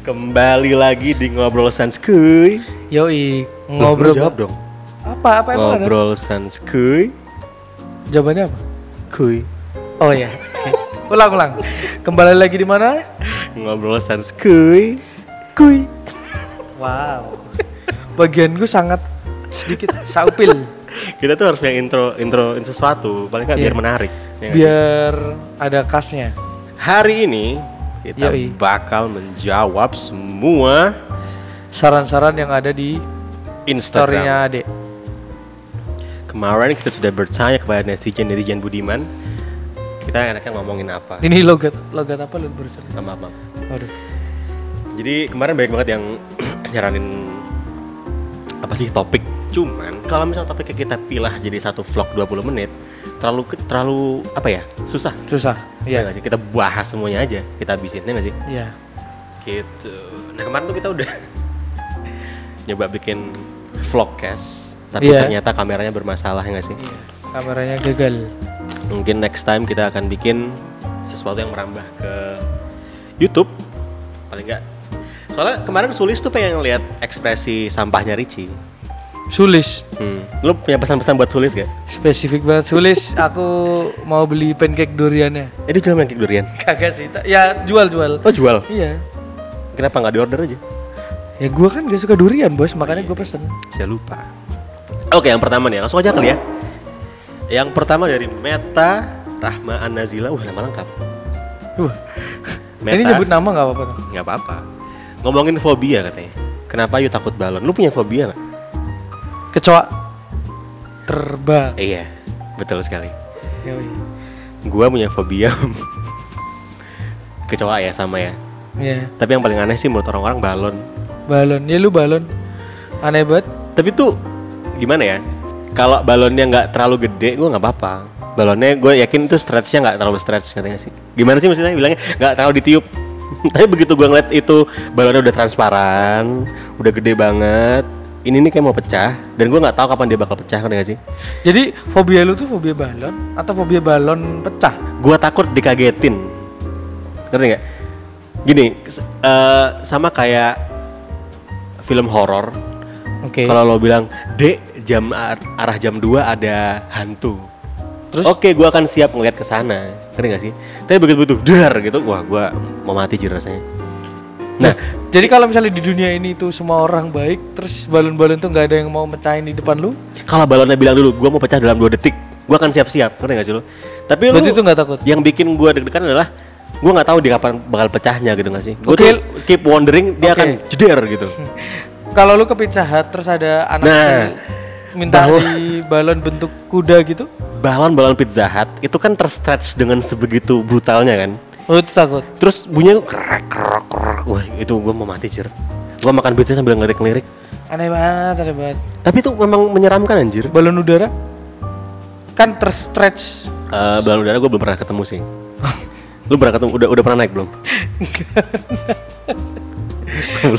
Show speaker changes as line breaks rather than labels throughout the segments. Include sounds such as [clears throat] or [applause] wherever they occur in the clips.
Kembali lagi di Ngobrol Sanskuy
Yoi,
Loh, lu
ngobrol.
Jawab dong
Apa apa emang ada?
Ngobrol Sanskuy
Jawabannya apa?
Kuy
Oh ya. [laughs] ulang ulang. Kembali lagi di mana?
Ngobrol Sanskuy
Kui. Wow. Bagian gue sangat sedikit
Iya,
saupil
Kita tuh harus punya intro intro intro sesuatu Paling nggak
Iya.
biar menarik ya nggak sih?
biar ada kasnya.
Hari ini kita
Yoi.
bakal menjawab semua
Saran-saran yang ada di
Instagram
story-nya Ade.
Kemarin kita sudah bertanya kepada netizen-netizen Budiman Kita enaknya ngomongin apa
Ini logat logat apa lu barusan?
Sama apa
Waduh.
Jadi kemarin banyak banget yang [clears throat] nyaranin apa sih topik. Cuman kalau misalnya topiknya kita pilah jadi satu vlog 20 menit, terlalu ke- terlalu apa ya? Susah.
Susah.
Ya
Iya.
nggak sih? Kita bahas semuanya aja, kita habisin ya nggak sih?
Iya.
Gitu. Nah, kemarin tuh kita udah [laughs] nyoba bikin vlogcast, tapi
Iya.
ternyata kameranya bermasalah ya nggak sih?
Kameranya gagal.
Mungkin next time kita akan bikin sesuatu yang merambah ke YouTube paling enggak. Soalnya kemarin Sulis tuh pengen lihat ekspresi sampahnya Ricci.
Sulis.
Hmm. Lu punya pesan-pesan buat Sulis gak?
Spesifik banget sulis. Aku mau beli pancake duriannya.
Eh
[laughs]
dia jual pancake durian.
Kagak sih. ta- Ya jual-jual.
Oh jual?
Iya.
Kenapa nggak diorder aja?
Ya gua kan gak suka durian bos, makanya gua pesen.
Saya lupa. Oke yang pertama nih langsung aja kali ya. Yang pertama dari Meta Rahma Anazila. Wah nama lengkap.
Wah.
Meta.
Ini nyebut nama gak apa-apa. tuh.
Nggak apa-apa. Ngomongin fobia katanya. Kenapa you takut balon? Lu punya fobia nggak?
Kecoa terbang.
Iya, betul sekali.
Yoi.
Gua punya fobia kecoa ya sama ya.
Iya.
Tapi yang paling aneh sih menurut orang-orang balon.
Balon. Ya lu balon. Aneh banget.
Tapi tuh gimana ya? Kalau balonnya nggak terlalu gede, gua nggak apa-apa. Balonnya gue yakin itu stretchnya nggak terlalu stretch katanya sih. Gimana sih maksudnya bilangnya nggak terlalu ditiup. [laughs] Tapi begitu gua ngeliat itu balonnya udah transparan, udah gede banget. Ini nih kayak mau pecah dan gua nggak tahu kapan dia bakal pecah kan sih.
Jadi fobia lu tuh fobia balon atau fobia balon pecah?
Gua takut dikagetin ngerti nggak gini s- eh, sama kayak film horor
Oke.
kalau lo bilang dek jam ar- arah jam 2 ada hantu
Terus?
oke gua akan siap ngeliat ke sana ngerti nggak sih tapi begitu begitu dar gitu wah gua mau mati jir rasanya nah
Jadi kalau misalnya di dunia ini tuh semua orang baik, terus balon-balon tuh nggak ada yang mau mecahin di depan lu,
kalau balonnya bilang dulu gua mau pecah dalam dua detik gua akan siap-siap ngerti nggak sih lo tapi lo
berarti tuh nggak takut.
yang bikin gua deg-degan adalah gua nggak tahu di kapan bakal pecahnya gitu nggak sih gue
Oke.
tuh keep wondering dia akan
Oke.
jeder gitu
Kalau lu ke Pizza Hut, terus ada anak
Nah,
kecil minta
bahwa-
di balon bentuk kuda gitu,
balon-balon pizza hut itu kan terstretch dengan sebegitu brutalnya kan
lu tuh takut.
terus bunyinya krek krek krek wah itu gua mau mati cer gua makan pizza sambil ngelirik-ngelirik
Aneh banget, aneh banget.
tapi itu memang menyeramkan anjir
Balon udara kan terstretch.
Eh, balon udara gua belum pernah ketemu sih lu pernah ketemu udah udah pernah naik belum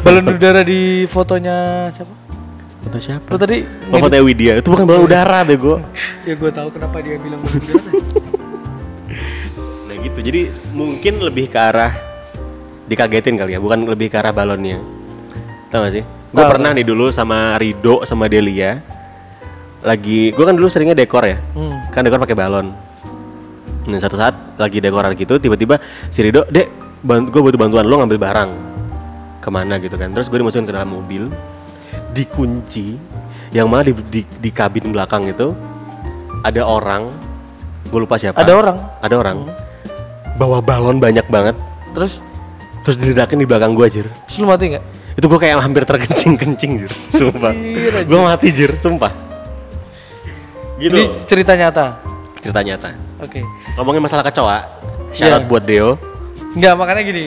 balon
[laughs]
udara di fotonya siapa?
foto siapa
Lu tadi
oh, foto Widya itu bukan balon udara bego
ya gue tahu kenapa dia bilang balon udara.
Nah gitu, jadi mungkin lebih ke arah dikagetin kali ya, bukan lebih ke arah balonnya. Tahu gak sih? Gue
Tahu.
pernah nih dulu sama Rido sama Delia lagi gue kan dulu seringnya dekor ya
Hmm.
kan dekor pakai balon nah satu saat lagi dekoran gitu tiba-tiba si Rido dek gue butuh bantuan lo ngambil barang kemana gitu kan terus gue dimasukin ke dalam mobil dikunci yang mana di, di, di kabin belakang itu ada orang gue lupa siapa
ada orang. Hmm.
ada orang bawa balon banyak banget
[laughs] Terus
terus diledakin di belakang gua jir
terus lu mati nggak?
itu gua kayak hampir terkencing kencing jir sumpah
Anjir, anjir.
gua mati jir sumpah gitu
Ini cerita nyata.
cerita nyata
Oke.
ngomongin masalah kecoa syarat
Iya.
buat Deo
Enggak, makanya gini.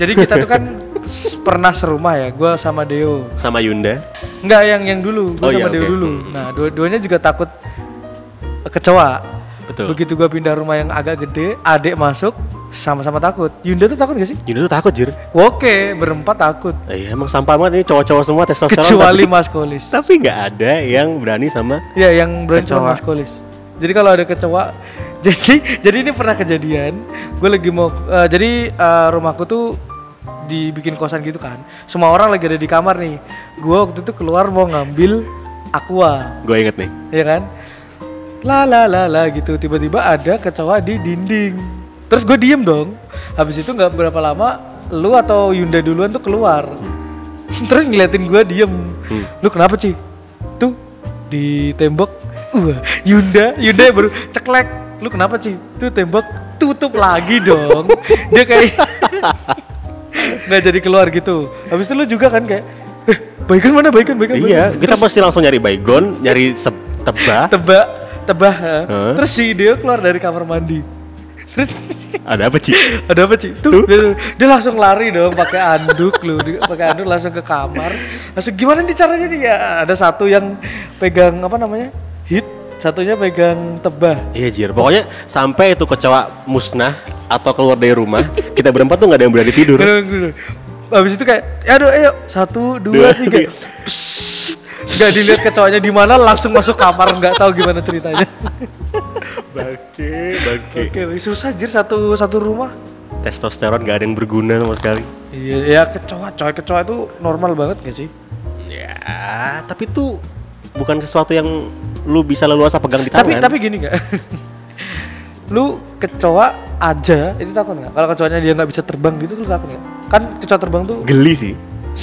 Jadi kita tuh kan s- pernah serumah ya, gua sama Deo.
sama Yunda
Enggak, yang yang dulu,
Oh,
gua sama
iya,
Deo
oke.
dulu. Nah, dua-duanya juga takut kecewa.
betul
Begitu gua pindah rumah yang agak gede, adik masuk sama-sama takut. Yunda tuh takut gak sih?
Yunda tuh takut jir
Oke, berempat takut.
Eh, emang sampah banget ini cowok-cowok semua testosteron
Kecuali
tapi,
Mas Kolis.
tapi nggak ada yang berani sama
Ya, yang berani
Kecoa.
cuma Mas Kolis. Jadi kalau ada [laughs] kecoa, jadi jadi ini pernah kejadian. Gue lagi mau, eh, jadi eh, rumahku tuh dibikin kosan gitu kan semua orang lagi ada di kamar nih gua waktu itu keluar mau ngambil aqua
Gue inget nih.
ya kan la la la la gitu tiba-tiba ada kecoa di dinding terus gue diem dong habis itu nggak berapa lama lu atau Yunda duluan tuh keluar [laughs] terus ngeliatin gue diem lu kenapa Ci? tuh di tembok wah Yunda Yunda yang baru [laughs] ceklek lu kenapa Ci? tuh tembok tutup lagi dong [laughs] dia kayak nggak jadi keluar gitu habis itu lu juga kan kayak eh, baikan mana baikan baikan
Iya,
baikan."
kita pasti langsung nyari baygon, nyari se- tebah.
[laughs] tebak tebah ha.
Heeh.
terus si dia keluar dari kamar mandi terus
Ada apa Ci?
ada apa sih tuh dia, dia langsung lari dong pakai anduk lu Dia pakai anduk langsung ke kamar langsung gimana nih caranya nih ya ada satu yang pegang apa namanya hit satunya pegang tebah
Iya Jir, pokoknya sampai itu kecoa musnah atau keluar dari rumah, kita berempat tuh nggak ada yang berani tidur.
Gerung, gerung. Habis itu kayak, "Ya, aduh ayo satu dua
Dua, tiga.
tiga. Psst. Nggak dilihat kecoanya di mana langsung masuk kamar nggak tahu gimana ceritanya.
Bangke, bangke.
Oke, susah jir satu satu rumah.
Testosteron nggak ada yang berguna sama sekali.
Iya, ya kecoa, coy kecoa itu normal banget gak sih?
Ya, tapi itu bukan sesuatu yang lu bisa leluasa pegang di
Tapi
tangan.
tapi gini nggak? [laughs] lu kecoa aja itu takut nggak? Kalau kecoanya dia nggak bisa terbang gitu lu takut nggak? Kan kecoa terbang tuh [laughs]
geli sih.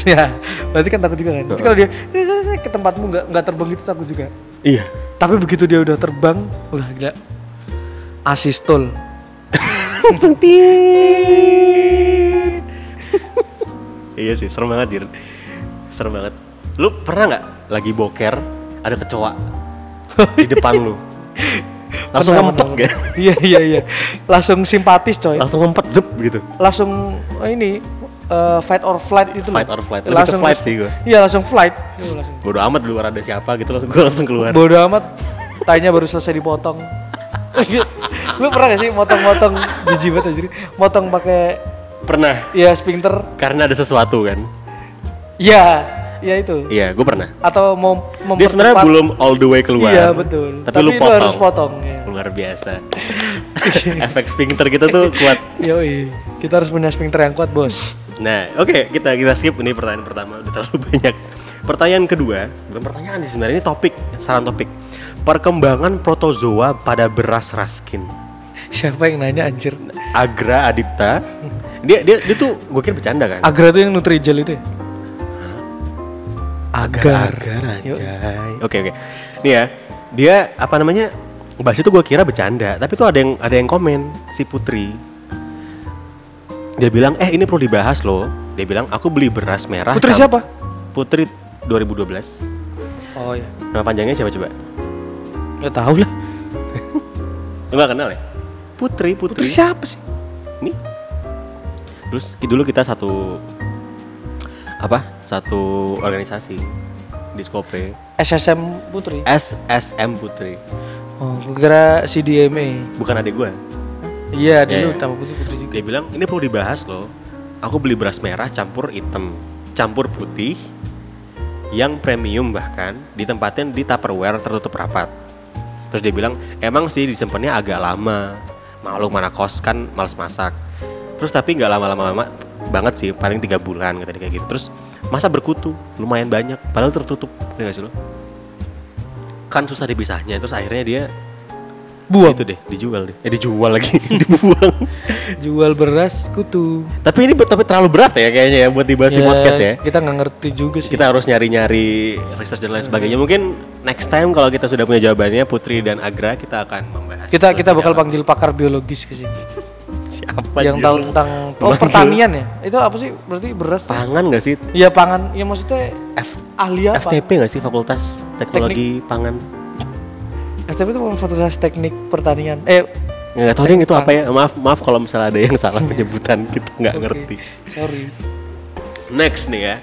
ya berarti kan takut juga kan? Jadi kalau dia [laughs] ke tempatmu nggak nggak terbang gitu takut juga. [laughs]
Iya.
Tapi begitu dia udah terbang, udah gila. Asistol.
iya sih, serem banget, Dir. Serem banget. Lu pernah nggak lagi boker ada kecoa di depan
[laughs]
lu? Langsung
Pernah,
ngempet
pernah.
gak?
Iya iya iya. Langsung simpatis coy.
Langsung ngempet zep gitu.
langsung oh ini eh, fight or flight itu loh.
Fight or flight. Lebih ke flight sih gua.
iya langsung flight Iya, langsung.
Bodo amat di luar ada siapa gitu loh, gue langsung keluar.
bodoh amat tanya baru selesai
[laughs]
dipotong lu pernah gak sih motong-motong jijik banget anjir motong pakai
Pernah
ya sphincter
karena ada sesuatu kan?
ya ya itu
Iya, gue pernah.
atau mau
Dia sebenarnya
mempercepat-
belum all the way keluar.
Iya, betul.
Tapi,
Tapi
lu
lu
potong.
harus potong, iya.
Luar
[laughs]
biasa. [laughs] Efek sphincter kita tuh kuat.
Yoi, kita harus punya sphincter yang kuat
[laughs]
bos
Nah, oke kita kita skip ini pertanyaan pertama udah terlalu banyak. Pertanyaan kedua, bukan pertanyaan sih sebenarnya ini topik, saran topik. Perkembangan protozoa pada beras raskin.
siapa yang nanya anjir
Agra Adipta. Dia dia dia tuh gue kira bercanda kan.
agra tuh yang nutrijel itu ya
agar
Yoi.
anjay. Oke oke. Nih ya, dia apa namanya? Bahas itu gue kira bercanda, tapi tuh ada yang ada yang komen si Putri. Dia bilang, "Eh, ini perlu dibahas loh." Dia bilang, "Aku beli beras merah."
Putri
sama-
siapa?
Putri 2012.
oh iya
Nama panjangnya siapa coba?
nggak tahu lah
Lu gak kenal ya? Putri, Putri.
putri siapa sih
Nih. Terus ki- dulu kita satu apa? Satu organisasi di Skope.
SSM putri
Eh. SSM Putri.
Oh, gue kira CDMA.
Bukan adik gue.
Iya, dulu
Iya.
tambah putih putri juga.
Dia bilang ini perlu dibahas loh. Aku beli beras merah campur hitam, campur putih, yang premium bahkan ditempatin di tupperware tertutup rapat. Terus dia bilang emang sih disimpannya agak lama. Malu mana kos kan males masak. Terus tapi nggak lama-lama lama banget sih, paling tiga bulan kata dia kayak gitu. Terus masa berkutu lumayan banyak, padahal tertutup, ya nggak sih lo? Kan susah dipisahnya. Terus akhirnya dia
Buang.
itu deh dijual deh. Eh dijual lagi, [laughs] dibuang.
Jual beras kutu.
Tapi ini be- tapi terlalu berat ya kayaknya ya buat dibahas
Iya.
di podcast ya.
Kita nggak ngerti juga sih.
Kita harus nyari-nyari research dan lain sebagainya. Mungkin next time kalau kita sudah punya jawabannya Putri dan Agra kita akan membahas.
Kita
lebih
kita bakal
dalam.
panggil pakar biologis ke sini.
siapa
Yang
dia
tahu
lu?
tentang oh,
Panggil
pertanian ya. Itu apa sih? Berarti beras. ya?
Pangan nggak sih?
Iya, pangan. Ya maksudnya
F
ahli apa?
FTP nggak sih Fakultas Teknologi Pangan?
FTP itu bukan fakultas teknik pertanian. Eh,
Nggak tahu deh itu apa ya. Maaf maaf kalau misalnya ada yang
[laughs]
salah penyebutan kita nggak
oke.
ngerti.
Sorry.
Next nih ya.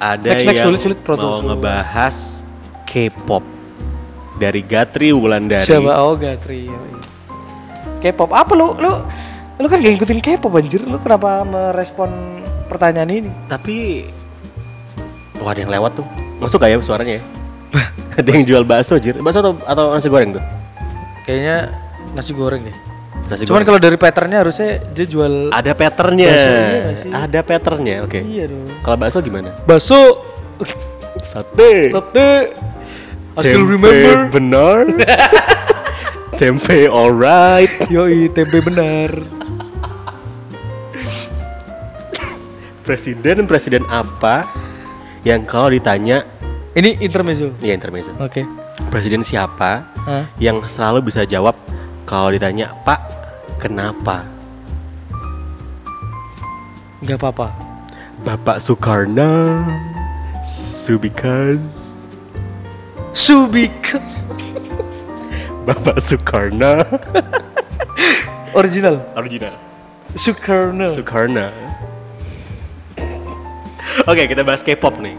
Ada
Next, next,
yang
sulit, sulit,
mau
protozoa.
ngebahas K-pop dari Gatri Wulandari.
Siapa? Oh, Gatri. Yoi. K-pop. Apa lu? Lu lu kan gak ngikutin K-pop anjir. Lu kenapa merespon pertanyaan ini?
Tapi Wah Oh, ada yang lewat tuh Masuk gak ya suaranya
[laughs]
ya? ada yang jual bakso jir Bakso atau, atau nasi goreng tuh?
Kayaknya nasi goreng deh.
Nasi goreng.
Cuman kalau dari patternnya harusnya dia jual
ada patternnya,
Bakso iya nggak sih?
ada patternnya, oke.
Iya dong.
Kalau bakso gimana?
bakso.
Sate.
Sate. I still
Tempe
remember. [laughs]
Benar. tempe alright.
Yoi, tempe benar.
Presiden presiden apa yang kalau ditanya
Ini intermezzo.
ya intermezzo.
Oke. ah,
Presiden siapa
Hah?
yang selalu bisa jawab kalau ditanya Pak kenapa?
nggak apa-apa.
Bapak Soekarno, Subikas,
Subik.
Bapak Soekarno,
Original.
original.
Sukarno.
Sukarna. Oke, kita bahas K-pop nih.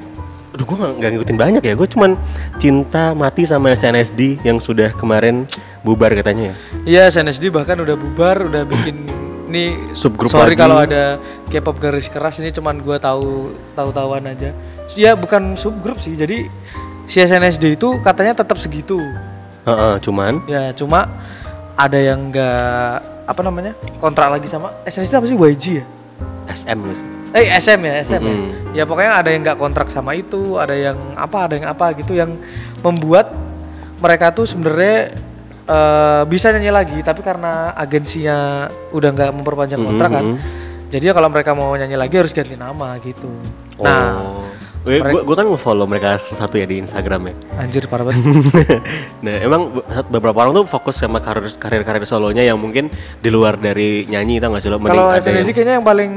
Aduh, gue gak, ngikutin banyak ya. Gue cuman cinta mati sama SNSD yang sudah kemarin bubar katanya ya.
Iya, SNSD bahkan udah bubar, udah
[coughs]
bikin ini
Subgrup
Sorry
lagi.
kalau ada K-pop garis keras ini cuman gua tahu tahu-tahuan aja. Ya bukan subgrup sih. Jadi si SNSD itu katanya tetap segitu.
Heeh, cuman
Ya, cuma ada yang nggak apa namanya? kontrak lagi sama SNSD apa sih YG ya?
SM lu sih.
Eh SM ya, SM ya.
Mm-mm.
Ya pokoknya ada yang nggak kontrak sama itu, ada yang apa, ada yang apa gitu yang membuat mereka tuh sebenarnya eh, bisa nyanyi lagi, tapi karena agensinya udah nggak memperpanjang kontrak kan, jadi ya kalau mereka mau nyanyi lagi harus ganti nama gitu. Nah,
gue gue kan nge-follow mereka satu ya di Instagram ya.
anjir parah banget.
nah, emang be- beberapa orang tuh fokus sama karir karir karir solonya yang mungkin di luar dari nyanyi tau gak sih lo mending
Kalau
ada
SNSD
yang
kayaknya yang paling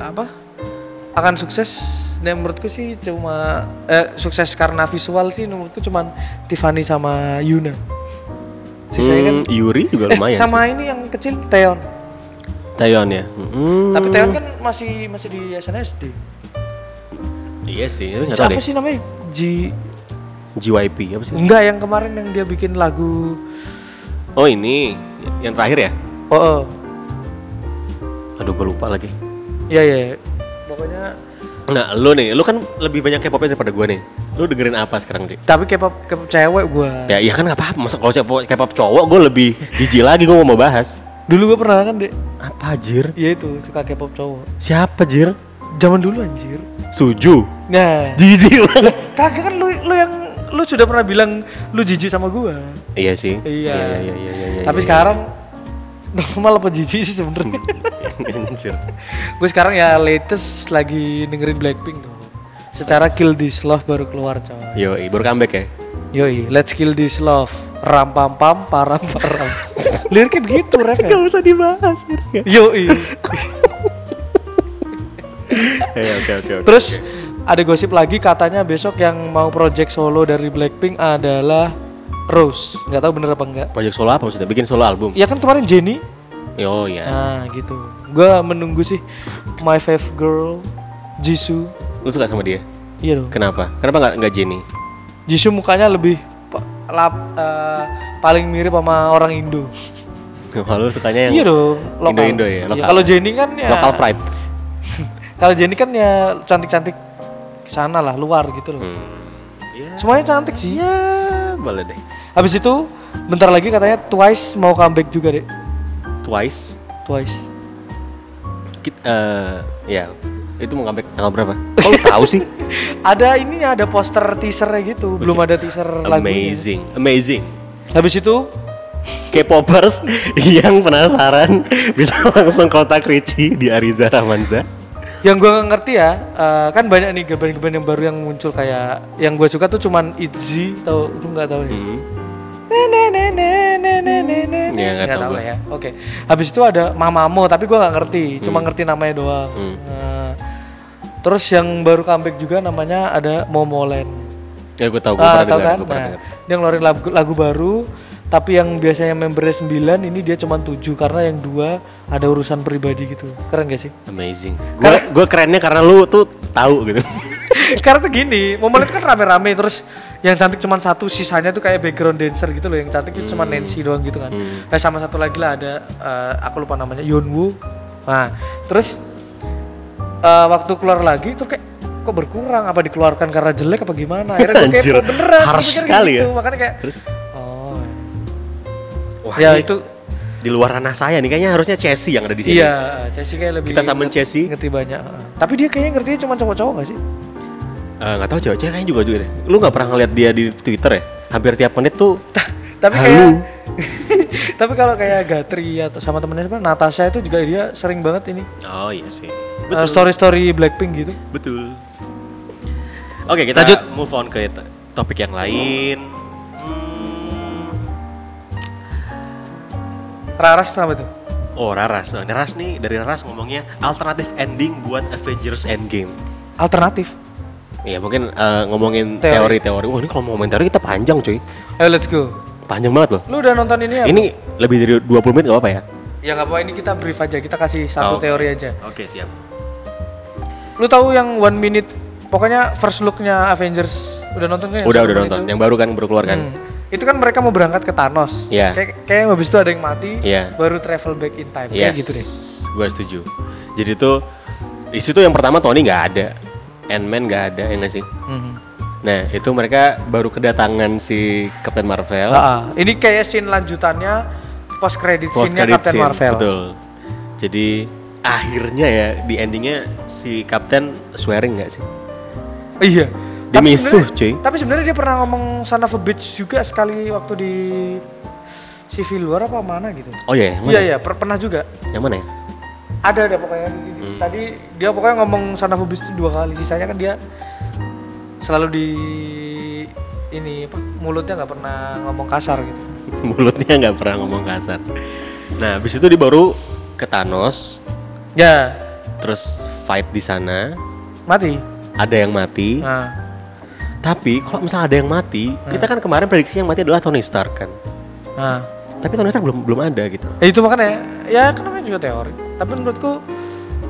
apa akan sukses dan menurutku sih cuma eh, sukses karena visual sih menurutku cuman Tiffany sama Yuna. Sisanya kan
Hmm, Yuri juga
eh,
lumayan.
sama ini yang kecil Teon.
sih. Taeyeon ya. Hmm,
Tapi Teon kan masih masih di SNSD.
iya sih, tapi nggak tahu
Siapa
deh.
sih namanya? Ji
JYP apa sih?
enggak yang kemarin yang dia bikin lagu
Oh ini yang terakhir ya?
oh, oh.
Aduh gue lupa lagi.
Iya iya. Pokoknya
Nah lu nih, lu kan lebih banyak K-popnya daripada gue nih. Lu dengerin apa sekarang Dik?
tapi K-pop K-pop cewek gua.
Ya iya kan nggak apa-apa. Masa kalau K-pop- K-pop cowok gue lebih jijik lagi gue mau bahas.
Dulu gua pernah kan, Dek.
Apa Jir?
Ya itu suka K-pop cowok.
Siapa Jir?
Zaman dulu anjir.
Suju.
Nah,
Jijik banget.
kagak kan lu lu yang lu sudah pernah bilang lu jijik sama gua.
Iya sih.
Iya.
Iya iya iya iya. iya,
Tapi
iya.
sekarang [laughs] normal apa jijik sih [laughs] sebenarnya?
Anjir.
gue sekarang ya latest lagi dengerin Blackpink tuh. Secara Kill This Love baru keluar coy.
Yo, baru comeback ya.
Yoi, let's kill this love. Ram pam pam param param. [laughs] Liriknya begitu ref ya.
usah dibahas.
Yoi.
Iya oke oke oke.
Terus ada gosip lagi katanya besok yang mau project solo dari Blackpink adalah Rose. Nggak tahu bener apa enggak.
Project solo apa maksudnya? Bikin solo album?
Ya kan kemarin Jennie
Yo ya.
Nah gitu. Gua menunggu sih My Five Girl, Jisoo.
Lu suka sama dia?
Iya dong.
Kenapa? Kenapa nggak nggak Jenny?
Jisoo mukanya lebih pa- lap- eh, paling mirip sama orang Indo.
Kalau sukanya yang
Iya dong. Lokal.
Indo-Indo ya,
Iya,
lokal.
Kalau Jenny kan ya.
Local pride.
Kalau Jenny kan ya cantik-cantik sana lah luar gitu loh.
Hmm.
Semuanya cantik sih.
Ya, boleh deh.
Habis itu bentar lagi katanya Twice mau comeback juga deh.
Twice.
Twice.
[laughs] Kita, eh, ya, itu mau comeback tanggal berapa? Kalau tahu sih.
ada ininya ada poster teasernya gitu. Belum ada teaser [laughs] lagunya.
Amazing, amazing.
Habis itu
K-popers [laughs] yang penasaran [laughs] bisa langsung kontak Ricci di Ariza Ramanza.
yang gue nggak ngerti ya eh, kan banyak nih band-band yang baru yang muncul kayak yang gue suka tuh cuman Itzy tau lu nggak tahu ya
Hmm.
ne ne ne ne ne ne ne ne ne.
Ya, nggak
Nggak
tahu
tahu
gua.
lah ya oke habis itu ada Mamamo tapi gue nggak ngerti cuma ngerti namanya doang
Hmm.
Eh, terus yang baru comeback juga namanya ada Momoland
Ya gue tahu, gue pernah
ah tahu
dengar,
kan
gue pernah
Nah,
dengar.
dia ngeluarin lagu, lagu baru tapi yang biasanya membernya 9 ini dia cuma 7 karena yang dua ada urusan pribadi gitu keren gak sih
Amazing. Gue gue kerennya karena lu tuh tahu gitu.
Karena tuh gini, momen itu kan rame-rame terus yang cantik cuma satu, sisanya tuh kayak background dancer gitu loh, yang cantik itu cuma Nancy doang gitu kan.
Hmm.
Eh sama satu lagi lah ada eh, aku lupa namanya Yeonwoo. Nah, terus eh, waktu keluar lagi tuh kayak kok berkurang apa dikeluarkan karena jelek apa gimana? Akhirnya gue
Anjir,
kepo beneran. gua
harsh ya.
pikir
sekali
gitu.
ya.
Makanya kayak
Terus?
oh.
Wah,
ya
ini
itu
di luar ranah saya nih kayaknya harusnya Chelsea yang ada di sini.
Iya, Chelsea kayak lebih
Kita samain
ngerti-
Chelsea.
Ngerti banyak. Tapi dia kayaknya ngertinya cuma cowok-cowok gak sih?
Eh, nggak tahu cewek-cewek kayaknya juga juga deh. Lu nggak pernah ngeliat dia di Twitter ya? Hampir tiap menit tuh
Tapi
Halo.
kayak [laughs] Tapi kalau kayak Gatri atau sama temennya siapa Natasha itu juga dia sering banget ini
Oh iya sih.
uh, story-story Blackpink gitu.
Betul. Oke, kita
Lanjut.
move on ke t- topik yang lain. Hmm.
Raras sama tuh.
Oh, Raras. Oh, ini Raras nih, dari Raras ngomongnya alternatif ending buat Avengers Endgame.
Alternatif.
Iya, mungkin eh, ngomongin
Teori.
teori-teori. Wah, ini kalau mau ngomongin teori kita panjang, cuy.
Ayo let's go.
Panjang banget loh.
Lu udah nonton ini ya?
Ini lebih dari 20 menit gak apa-apa ya?
Ya nggak apa ini kita brief aja, kita kasih
Oh.
satu teori aja.
Oke, siap.
Lu tahu yang one minute, pokoknya first look-nya Avengers udah nonton kan? yang
Udah,
satu
udah
menit
nonton.
itu?
Yang baru kan baru keluar kan?
Hmm. Itu kan mereka mau berangkat ke Thanos.
Iya.
Kayak kayak habis itu ada yang mati,
Iya.
baru travel back in time. Kayak
Yes,
gitu deh.
Gue setuju. Jadi tuh di situ yang pertama Tony nggak ada, Ant-Man nggak ada, ya nggak sih?
Mhm.
Nah itu mereka baru kedatangan si Captain Marvel.
Ah, ini kayak scene lanjutannya post credit
post
scene-nya
credit
Captain
scene,
Marvel.
Betul. Jadi akhirnya ya di endingnya si Captain swearing nggak sih?
Iya.
Dia
Tapi
misuh,
sebenarnya-
cuy.
Tapi sebenarnya dia pernah ngomong son of a bitch juga sekali waktu di Civil War apa mana gitu.
Oh iya, yang mana?
Iya iya, per- pernah juga.
Yang mana ya? [laughs]
Ada ada pokoknya di-
Hmm.
di- tadi dia pokoknya ngomong son of a bitch itu dua kali. Sisanya kan dia selalu di ini apa mulutnya nggak pernah ngomong kasar gitu.
Mulutnya nggak pernah ngomong kasar. Nah, habis itu dia baru ke Thanos,
Ya,
terus fight di sana,
mati.
ada yang mati.
Nah,
Tapi kalau misalnya ada yang mati,
Hmm.
kita kan kemarin prediksi yang mati adalah Tony Stark kan.
nah.
Tapi Tony Stark belum belum ada gitu.
Ya itu makanya ya kan namanya juga teori. Tapi menurutku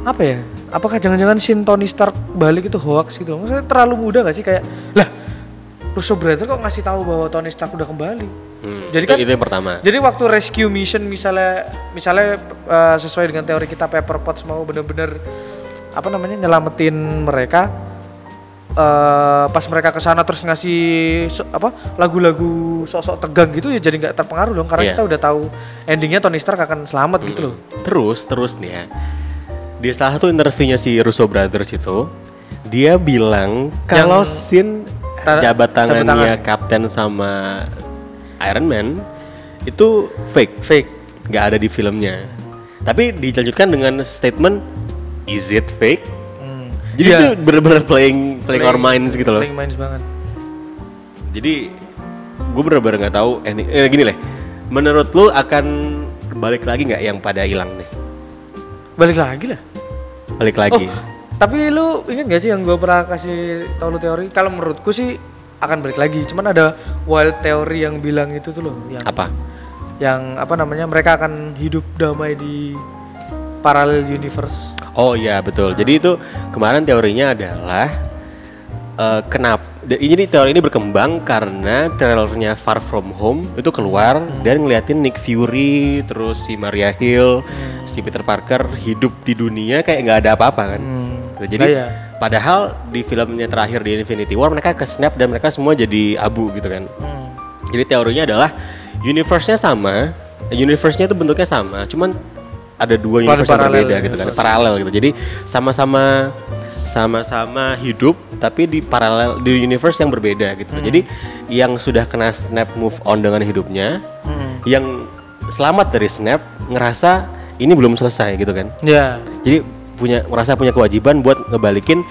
apa ya? Apakah jangan-jangan sin Tony Stark balik itu hoax gitu? Maksudnya terlalu muda gak sih kayak lah Russo Brother kok ngasih tahu bahwa Tony Stark udah kembali?
Hmm,
Jadi
itu,
kan-
itu yang pertama.
Jadi waktu rescue mission misalnya misalnya eh, sesuai dengan teori kita Pepper Potts mau bener-bener apa namanya nyelamatin mereka eh, pas mereka ke sana terus ngasih so- apa lagu-lagu sosok tegang gitu ya jadi nggak terpengaruh dong karena
Iya.
kita udah tahu endingnya Tony Stark akan selamat gitu loh.
Terus terus nih ya. Di salah satu interviewnya si Russo Brothers itu, dia bilang kalau scene
Ta-
jabat
jabat
tangannya Kapten sama Iron Man itu fake,
Fake.
nggak ada di filmnya. Tapi dilanjutkan dengan statement is it fake? Jadi
Iya.
itu bener-bener playing, playing our minds gitu loh.
Playing minds banget.
Jadi gue bener-bener nggak tahu ending. Eh, gini lah, menurut lu akan balik lagi nggak yang pada hilang nih?
Balik lagi lah.
Balik lagi.
Oh, tapi lu inget gak sih yang gue pernah kasih tau lu teori? Kalau menurutku sih akan balik lagi. Cuman ada wild teori yang bilang itu tuh loh, yang
Apa?
yang apa namanya mereka akan hidup damai di parallel universe.
Oh iya betul. Jadi itu kemarin teorinya adalah eh, kenapa? Jadi teori ini berkembang karena trailernya Far From Home itu keluar dan ngeliatin Nick Fury, terus si Maria Hill, si Peter Parker hidup di dunia kayak nggak ada apa-apa kan. Gitu. Jadi
Nah, iya.
padahal di filmnya terakhir di Infinity War mereka ke snap dan mereka semua jadi abu gitu kan. Jadi teorinya adalah universe-nya sama, eh, universe-nya itu bentuknya sama, cuman ada dua
Pada
universe yang
paralel
berbeda gitu kan,
universe.
paralel gitu. Jadi sama-sama sama-sama hidup tapi di paralel di universe yang berbeda gitu.
Hmm.
Jadi yang sudah kena snap move on dengan hidupnya,
Hmm.
yang selamat dari snap ngerasa ini belum selesai gitu kan.
Ya.
Jadi punya merasa punya kewajiban buat ngebalikin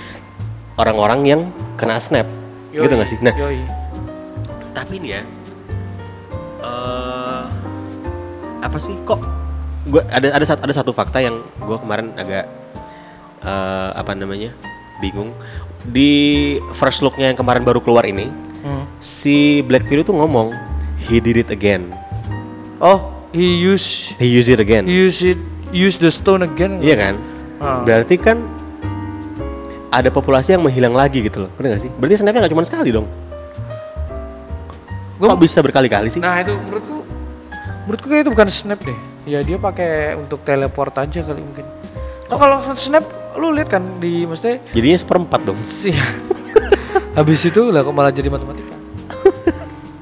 orang-orang yang kena snap. Gitu gak sih? Nah,
Yoi.
tapi nih ya eh apa sih kok gua ada ada satu ada satu fakta yang gua kemarin agak eh apa namanya bingung di first looknya yang kemarin baru keluar ini
Hmm.
si Black Widow tuh ngomong he did it again
Oh, he use
he used it again
he use it use the stone again.
iya kan
Iya. Ah.
berarti kan ada populasi yang menghilang lagi gitu loh bener gak sih berarti snapnya nggak cuma sekali dong
Gua-
kok bisa berkali-kali sih
Nah, itu menurutku menurutku kayak itu bukan snap deh. Ya dia pakai untuk teleport aja kali mungkin. Kok kalau snap lu lihat kan di mesti
jadinya
[laughs]
seperempat dong
Iya. Habis itu lah kok malah jadi matematika. [laughs]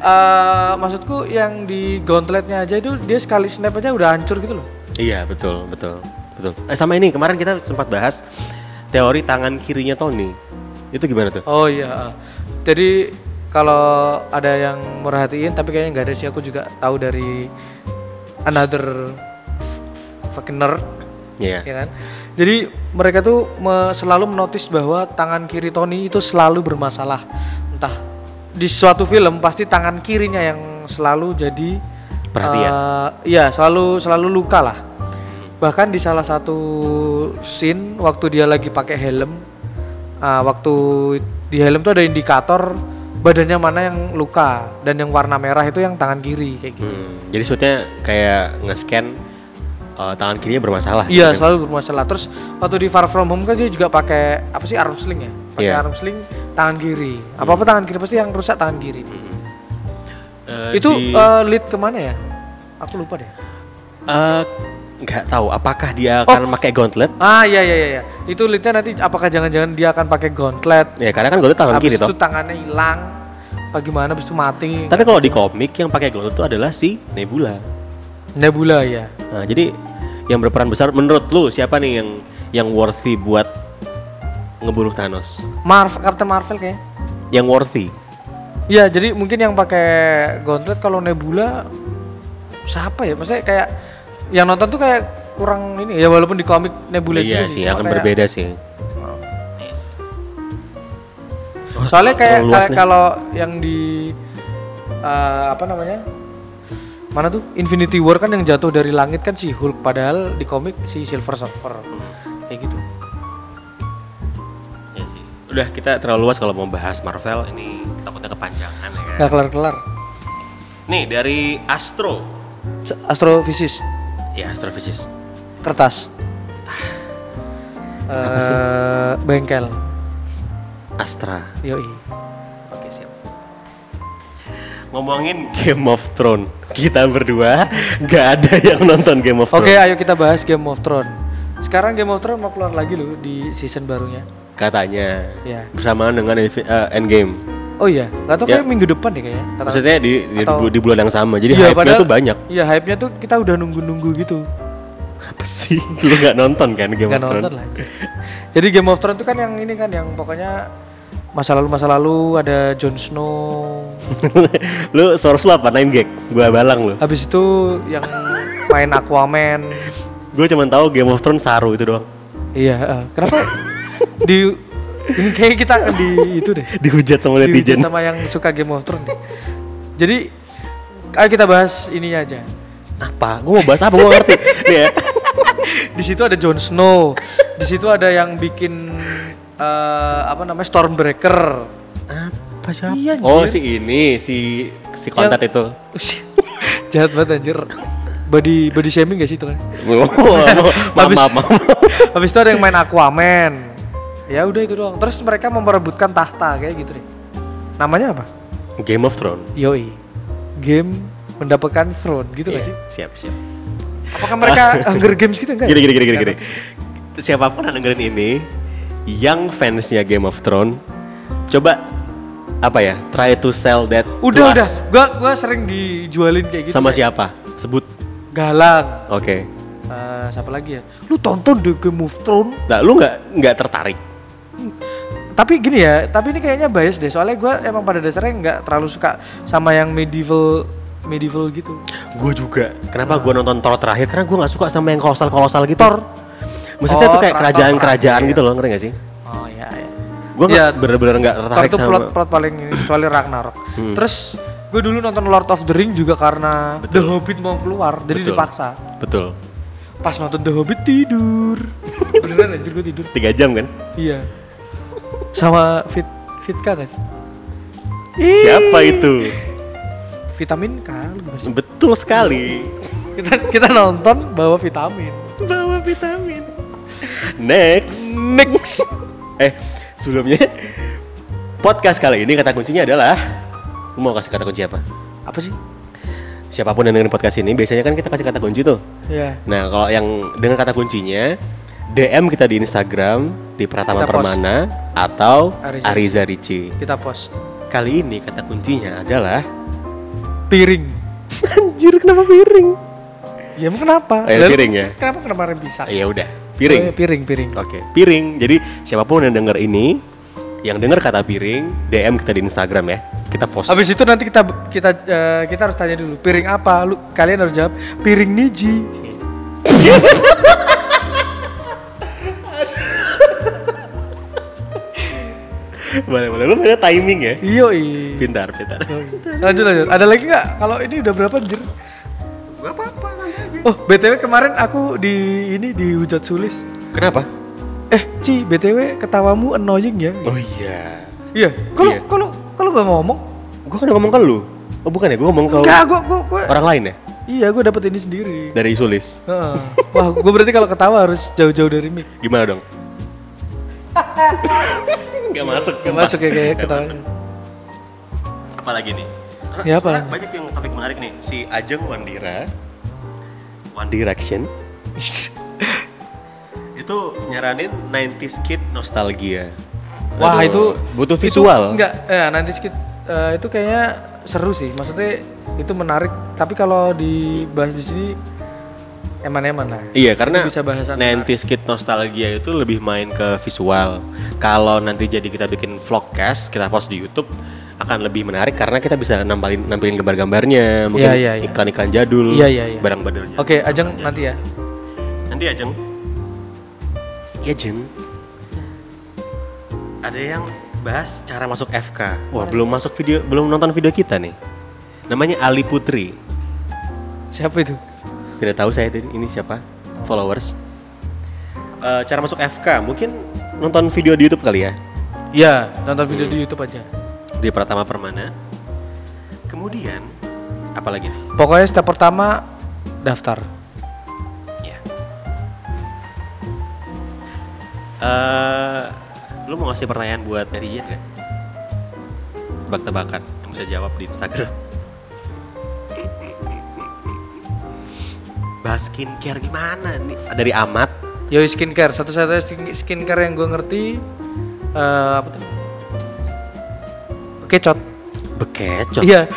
eh, maksudku yang di gauntletnya aja itu dia sekali snap aja udah hancur gitu loh.
Iya betul betul betul. Eh, sama ini kemarin kita sempat bahas teori tangan kirinya Tony. Itu gimana tuh?
Oh iya. ah. Jadi kalau ada yang merhatiin tapi kayaknya nggak ada sih aku juga tahu dari another f- fucking nerd
Iya.
ya kan. Jadi mereka tuh me- selalu menotis bahwa tangan kiri Tony itu selalu bermasalah. Entah di suatu film pasti tangan kirinya yang selalu jadi
Perhatian.
eh, iya, selalu selalu luka lah. Bahkan di salah satu scene waktu dia lagi pakai helm, ah, waktu di helm tuh ada indikator badannya mana yang luka dan yang warna merah itu yang tangan kiri kayak gitu.
Hmm, jadi shootnya kayak nge-scan eh, tangan kirinya bermasalah.
Iya
gitu.
selalu bermasalah. Terus waktu di Far From Home kan dia juga pakai apa sih arm sling ya? Pakai
Iya.
arm sling tangan kiri. Apa apa tangan kiri pasti yang rusak tangan kiri.
Hmm. Eh,
Itu
di-
eh, lead kemana ya? Aku lupa deh.
eh, nggak tahu apakah dia
Oh.
akan pakai gauntlet?
Ah iya iya iya. iya. Itu leadnya nanti apakah jangan-jangan dia akan pakai gauntlet?
Ya karena kan gauntlet tangan
Habis
kiri
itu
toh.
tangannya hilang. Bagaimana? Habis itu mati.
Tapi kalau di komik yang pakai gauntlet itu adalah si Nebula.
Nebula ya.
Nah, jadi yang berperan besar menurut lu siapa nih yang yang worthy buat ngebunuh Thanos?
Marvel Captain Marvel kayaknya.
Yang worthy?
Iya, jadi mungkin yang pakai gauntlet kalau Nebula siapa ya? Maksudnya kayak yang nonton tuh kayak kurang ini ya walaupun di komik Nebula
iya
juga
sih,
cuma
akan
kayak- Iya
berbeda sih. Wah,
Soalnya kayak
Oh, terlalu luas
kayak
nih.
kalau yang di eh, apa namanya? Mana tuh Infinity War kan yang jatuh dari langit kan si Hulk padahal di komik si Silver Surfer. Kayak gitu.
Iya sih. Udah kita terlalu luas kalau mau bahas Marvel ini takutnya kepanjangan ya. kan?
Gak kelar-kelar.
Nih dari Astro,
Se- Astrofisis
ya astrofisis.
kertas. Eh bengkel.
Astra.
Yoi.
Oke siap. Ngomongin Game of Thrones, kita berdua nggak ada yang nonton Game of
Oke,
Thrones.
ayo kita bahas Game of Thrones. Sekarang Game of Thrones mau keluar lagi loh di season barunya.
Katanya
Ya.
bersamaan dengan Infi- eh, Endgame.
Oh iya, nggak tahu
Ya.
kayak minggu depan deh kayaknya. Kata-
Maksudnya di di,
Atau-
bu- di bulan yang sama. Jadi
Iya,
hype-nya
padahal-
tuh banyak.
Iya, hype-nya tuh kita udah nunggu-nunggu gitu.
Apa sih? Lu nggak nonton kan Game
Nggak
of Thrones?
nonton lah. Jadi Game of Thrones tuh kan yang ini kan yang pokoknya masa lalu masa lalu ada Jon Snow.
[laughs] lu source lu apa? Nine gag. Gua balang lu.
Habis itu yang main Aquaman.
[laughs] Gue cuma tahu Game of Thrones saru itu doang. [laughs]
Iya, eh, kenapa di ini kayak kita akan di itu deh.
Dihujat sama
Dihujat
netizen.
sama yang suka Game of Thrones. deh. Jadi ayo kita bahas ininya aja.
Apa? Gue mau bahas apa? Gue
[laughs]
ngerti. Nih ya.
Di situ ada Jon Snow. Di situ ada yang bikin eh, apa namanya Stormbreaker.
Apa siapa?
Iya,
oh
anjir.
si ini si si kontat
Yang- [laughs]
itu.
Ush, Jahat banget anjir. Body body shaming gak sih itu kan?
Wah, maaf,
[laughs] Habis-
maaf, maaf. [laughs]
Habis itu ada yang main Aquaman. Ya udah itu doang. Terus mereka memperebutkan tahta kayak gitu deh. Namanya apa?
Game of Thrones.
Yoi. Game mendapatkan throne gitu gak
Iya,
sih?
Siap, siap.
Apakah mereka
[laughs]
Hunger Games gitu enggak? ya?
Gini, gini, gini, gini,
Nggak
gini. Siapapun yang dengerin ini, yang fansnya Game of Thrones, coba apa ya? Try to sell that. to us.
Udah udah, gua gua sering dijualin kayak gitu.
Sama siapa? Sebut.
Galang.
Oke.
Eh, siapa lagi ya? Lu tonton The Game of Thrones.
Nah, lu nggak nggak tertarik?
Tapi gini ya, tapi ini kayaknya bias deh. Soalnya gua emang pada dasarnya nggak terlalu suka sama yang medieval medieval gitu.
Gue juga. Kenapa gue nonton Thor terakhir? Karena gue nggak suka sama yang kolosal kolosal gitu.
Thor.
Maksudnya
Oh,
tuh kayak
Thor- Thor
kerajaan-kerajaan
terakhir,
gitu loh, ngerti gak sih?
Oh iya iya.
Gue
Iya,
nggak bener-bener nggak
Thor
tertarik
tuh
sama. Hmm.
plot plot paling ini, kecuali
[laughs]
Ragnarok. Terus gue dulu nonton Lord of the Ring juga karena The Hobbit mau keluar, jadi
Betul.
dipaksa.
Betul.
Pas nonton The Hobbit
[laughs]
tidur. Beneran anjir gue tidur.
Tiga jam kan?
Iya. Sama fit Fitka kan?
Siapa itu?
Vitamin K lu gimana sih?
Betul sekali.
Kita kita nonton bawa vitamin.
Bawa vitamin. Next.
Next.
[laughs] Eh, sebelumnya podcast kali ini kata kuncinya adalah lu mau kasih kata kunci apa?
Apa sih?
Siapapun yang dengerin podcast ini biasanya kan kita kasih kata kunci tuh.
Iya.
Nah, kalau yang dengan kata kuncinya DM kita di Instagram di Pratama
Kita post.
Permana atau
Ariza
Ariza Ricci.
Kita post.
Kali ini kata kuncinya adalah
piring.
Anjir kenapa piring?
Ya emang kenapa?
Eh,
Lalu
piring ya?
Kenapa kemarin bisa?
Ya udah, piring.
Eh, piring, piring.
Oke, piring. Jadi siapapun yang denger ini, yang denger kata piring, DM kita di Instagram ya. Kita post.
Habis itu nanti kita kita eh, kita harus tanya dulu piring apa? Lu kalian harus jawab piring niji.
[laughs] boleh, boleh. Lu punya timing ya.
Iyo i.
Pintar, pintar.
Lanjut lanjut. Ada lagi nggak? Kalau ini udah berapa jir?
Gak apa-apa.
Oh btw kemarin aku di ini dihujat sulis.
Kenapa?
Eh Ci, BTW ketawamu annoying ya?
Oh iya.
Iya, kalau
Iya.
kalau kalau gak ngomong,
Gua kan ngomong ke lu. Oh bukan ya, gua ngomong ke
enggak gua gua, gua
orang lain ya?
Iya, gua dapet ini
[laughs]
sendiri.
Dari Sulis.
Heeh. Wah, gua berarti kalau ketawa harus jauh-jauh dari mic.
Gimana
[laughs]
dong? Gak masuk,
Gak
sumpah.
masuk ya kayak
Nggak
ketawa.
masuk. Apalagi nih? Karena
Ya, apa?
sebenarnya banyak yang topik menarik nih. Si Ajeng Wandira, One
[laughs]
Direction, itu nyaranin 90s kid nostalgia.
Wah,
Aduh,
itu
butuh
itu
visual.
enggak, eh, nanti sedikit eh, itu kayaknya seru sih. Maksudnya itu menarik, tapi kalau dibahas di sini eman-eman lah.
Iya karena
Itu bisa bahasan
90s kid nostalgia itu lebih main ke visual. Kalau nanti jadi kita bikin vlogcast, kita post di YouTube akan lebih menarik karena kita bisa nampilin nampilin gambar-gambarnya, mungkin
Iya, iya, iya.
iklan-iklan jadul,
Iya, iya, iya.
barang badal jadul.
Oke, Ajeng nanti ya.
Nanti Ajeng. Iya, Jeng. Ada yang bahas cara masuk FK. Wah, belum masuk video, belum nonton video kita nih. Namanya Ali Putri.
Siapa itu?
Tidak tahu saya tadi ini siapa followers. Eh, cara masuk FK mungkin nonton video di YouTube kali ya
Iya, nonton video di YouTube aja.
di Pratama Permana. Kemudian apalagi nih?
Pokoknya step pertama daftar.
Ya. Eh, lu mau ngasih pertanyaan buat netizen gak? Tebak-tebakan yang bisa jawab di Instagram. Bahas skincare gimana nih? Dari Amat
Yoi skincare, satu-satunya skin- skincare yang gue ngerti eh, apa tuh? Bekecot.
bekecot.
Iya.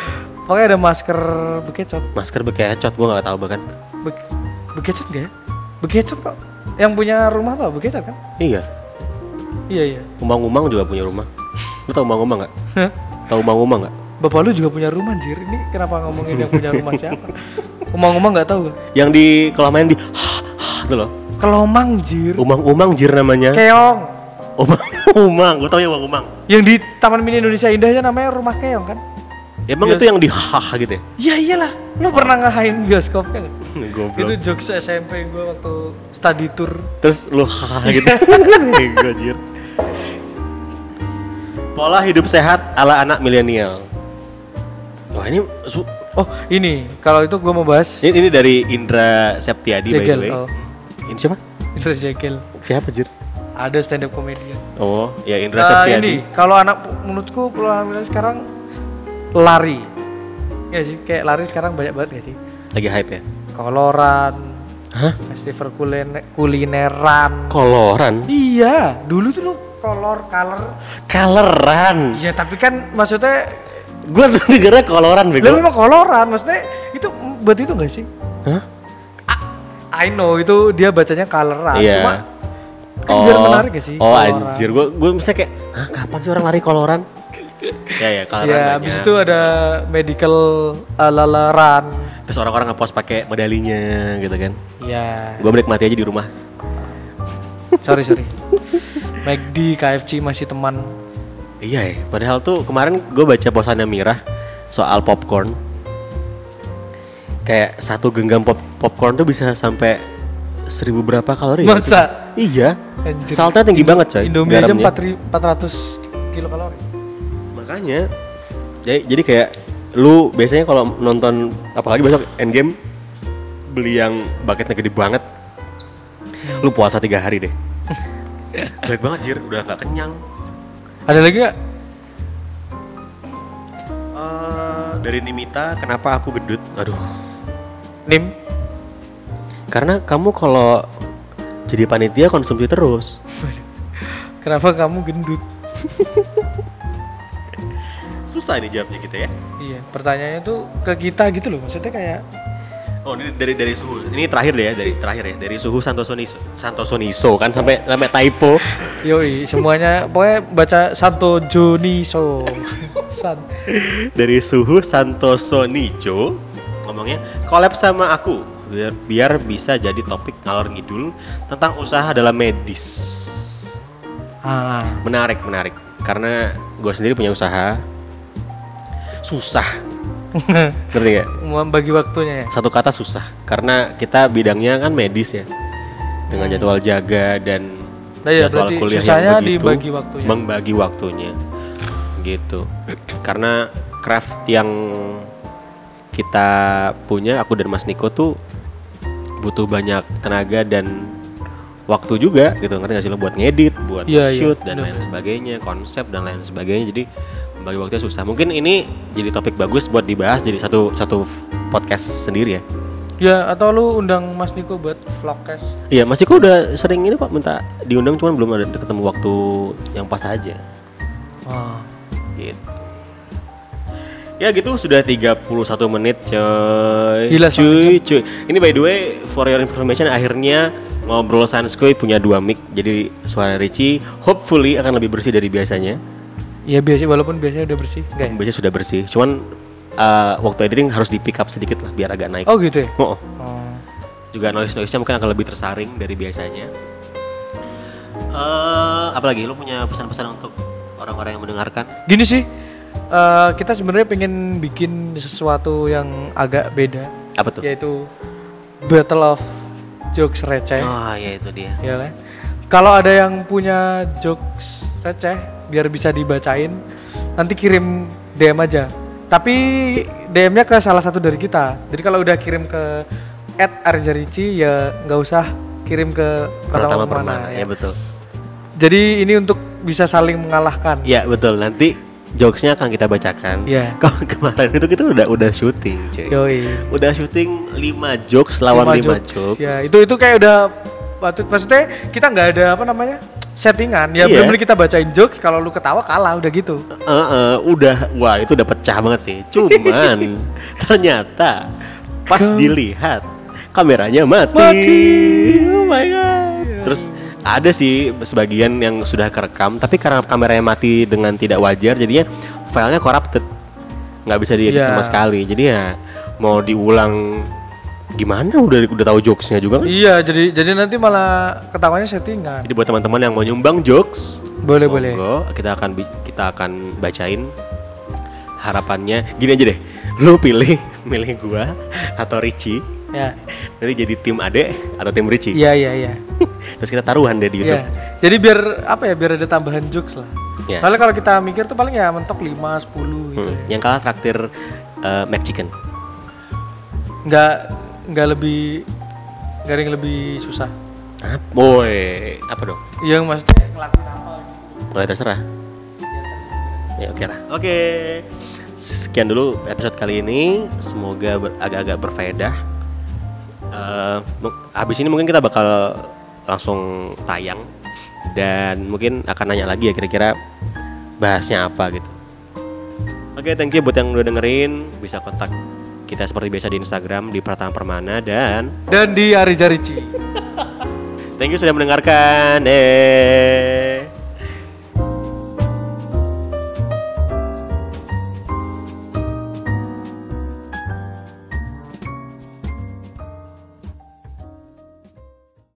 Pokoknya ada masker bekecot.
Masker bekecot gua nggak tahu bahkan.
Be- bekecot gak ya? Bekecot kok. Yang punya rumah apa? Bekecot kan?
Iya.
Iya, iya.
Umang-umang juga punya rumah. Lu tau umang-umang nggak? Tahu umang-umang nggak?
Bapak lu juga punya rumah, anjir. Ini kenapa ngomongin yang punya rumah siapa? Umang-umang nggak tahu. gua.
Yang di kolam main di itu loh.
Kelomang, jir.
Umang-umang jir namanya.
Keong.
Umang-umang, gua tau ya umang-umang.
Yang di Taman Mini Indonesia Indahnya namanya rumah keong kan?
Ya, Emang
Iya.
itu yang di hah gitu ya?
Ya iyalah. Lu pernah ngahain bioskopnya nggak? Itu
Goblok.
jokes SMP gue waktu study tour.
Terus lu hah
Iya.
gitu. Bego jir. Pola hidup sehat ala anak milenial. Wah ini su-
Oh ini kalau itu gue mau bahas
ini, ini dari Indra Septiadi by the
Jegel,
way.
oh.
Ini siapa?
Indra Jekyll.
Siapa jir?
Ada stand up comedian.
Oh, ya Indra
Eh,
Septiadi.
ini kalau anak menurutku pola hamil sekarang lari. Ya sih kayak lari sekarang banyak banget ya sih.
Lagi hype ya?
Koloran,
Hah?
festival kuliner kulineran.
Koloran?
Iya, dulu tuh lu kolor color.
Kaleran.
Iya tapi kan maksudnya
Gue tuh dengernya koloran
lu
bego.
memang koloran maksudnya itu buat itu gak sih?
Hah?
I know itu dia bacanya coloran
Iya.
nah, cuma kan biar menarik gak sih
Oh
coloran.
anjir, gue gue mesti kayak, "Hah, kapan sih orang lari koloran? ya ya, koloran
ya
banyak.
abis itu ada medical eh, alalaran
Terus orang-orang ngepost pakai medalinya gitu kan.
ya
Gue menikmati aja di rumah.
sorry sorry McD KFC masih teman
Iya ya, padahal tuh kemarin gue baca posannya Mirah soal popcorn. Kayak satu genggam pop- popcorn tuh bisa sampai seribu berapa kalori ya?
masa
Iya,
Anjir.
saltnya tinggi banget coy.
Indomie aja
garamnya.
4 ri- 400 kilokalori
Makanya jadi jadi kayak lu biasanya kalau nonton apalagi besok endgame beli yang bucketnya gede banget.
Hmm.
Lu puasa tiga hari deh. Baik banget jir, udah nggak kenyang.
ada lagi gak?
Eh, dari Nimita, kenapa aku gendut? Aduh.
Nim
Karena kamu kalau jadi panitia konsumsi terus.
kenapa kamu gendut
susah ini jawabnya gitu ya.
Iya, pertanyaannya tuh ke kita gitu loh. Maksudnya kayak
Oh ini dari dari suhu. Ini terakhir deh ya dari terakhir ya dari suhu Santosoniso Santosoniso kan sampai sampai [laughs] typo.
yoi semuanya [laughs] pokoknya baca Santo Joniso. [laughs] San.
dari suhu Santoso Nijo ngomongnya collab sama aku biar, biar bisa jadi topik ngalor ngidul tentang usaha dalam medis
Ah, [laughs]
menarik menarik karena gue sendiri punya usaha susah ngerti gak
membagi waktunya ya.
satu kata susah karena kita bidangnya kan medis ya dengan jadwal jaga dan
Nah, iya,
jadwal
berarti
kuliah
susahnya
yang begitu
dibagi waktunya.
membagi waktunya gitu karena craft yang kita punya aku dan Mas Niko tuh butuh banyak tenaga dan waktu juga gitu ngerti gak sih lo buat ngedit buat
Iya, iya,
shoot dan lain sebagainya konsep dan lain sebagainya jadi membagi waktunya susah mungkin ini jadi topik bagus buat dibahas jadi satu satu podcast sendiri ya
Ya, atau lu undang Mas Niko buat vlogcast.
Iya, masih kok udah sering ini kok minta diundang cuman belum ada ketemu waktu yang pas aja.
Ah.
Gitu. Ya gitu sudah 31 menit coy.
Gila,
cuy, cuy. Ini by the way for your information akhirnya ngobrol Sanskoy punya dua mic. Jadi suara Ricci hopefully akan lebih bersih dari biasanya.
Ya biasa walaupun biasanya udah bersih, enggak ya?
Biasanya sudah bersih. Cuman eh, waktu editing harus di pick up sedikit lah biar agak naik.
Oh gitu ya.
Oh, oh.
Oh.
juga noise noise nya mungkin akan lebih tersaring dari biasanya. Eh, apalagi lu punya pesan-pesan untuk orang-orang yang mendengarkan?
Gini sih, eh, kita sebenarnya pengen bikin sesuatu yang agak beda,
Apa tuh?
yaitu battle of jokes receh.
Oh, ya itu dia.
Ya kan? Kalau ada yang punya jokes receh biar bisa dibacain, nanti kirim DM aja. Tapi DM-nya ke salah satu dari kita. Jadi kalau udah kirim ke @arjarici ya nggak usah kirim ke
Pertama
Pratama
permana,
Permana,
ya.
ya.
betul.
Jadi ini untuk bisa saling mengalahkan.
Ya betul. Nanti jokesnya akan kita bacakan.
Iya.
[laughs] Kalau kemarin itu kita udah udah syuting, cuy.
Yoi.
Udah syuting 5 jokes lawan 5 jokes. iya.
Ya, itu itu kayak udah patut maksudnya kita nggak ada apa namanya? settingan. Ya
Iya.
bener kita bacain jokes kalau lu ketawa kalah udah gitu.
Eh, eh, udah wah itu udah pecah banget sih. [laughs] Cuman ternyata pas dilihat kameranya mati.
Mati.
Oh my god. Terus ada sih sebagian yang sudah kerekam tapi karena kameranya mati dengan tidak wajar jadinya filenya corrupted. nggak bisa diedit
Iya.
sama sekali. Jadi ya mau diulang gimana udah udah tahu jokesnya juga kan.
Iya, jadi jadi nanti malah ketawanya settingan.
Jadi buat teman-teman yang mau nyumbang jokes
Boleh, boleh.
Monggo, kita akan bi- kita akan bacain harapannya. Gini aja deh. Lu pilih [laughs] milih gua atau Ricci.
Ya.
Nanti jadi tim Ade atau tim Ricci.
Iya, iya, iya.
[laughs] Terus kita taruhan deh di
Iya.
YouTube.
Jadi biar apa ya? Biar ada tambahan jokes lah.
Iya.
Soalnya kalau kita mikir tuh paling ya mentok 5 10 gitu.
Hmm, Yang kalah traktir eh, Mac Chicken.
Nggak nggak lebih nggak ada yang lebih susah.
Ah, boy, apa dong?
Yang maksudnya ngelakuin apa gitu.
Boleh terserah. Ya oke lah. Oke. Sekian dulu episode kali ini. Semoga ber- agak-agak berfaedah. Eh, mu- habis ini mungkin kita bakal langsung tayang dan mungkin akan nanya lagi ya kira-kira bahasnya apa gitu. Oke, thank you buat yang udah dengerin. Bisa kontak kita seperti biasa di Instagram di Pratama Permana dan
Dan di Arija Ricci.
thank you sudah mendengarkan. Eh.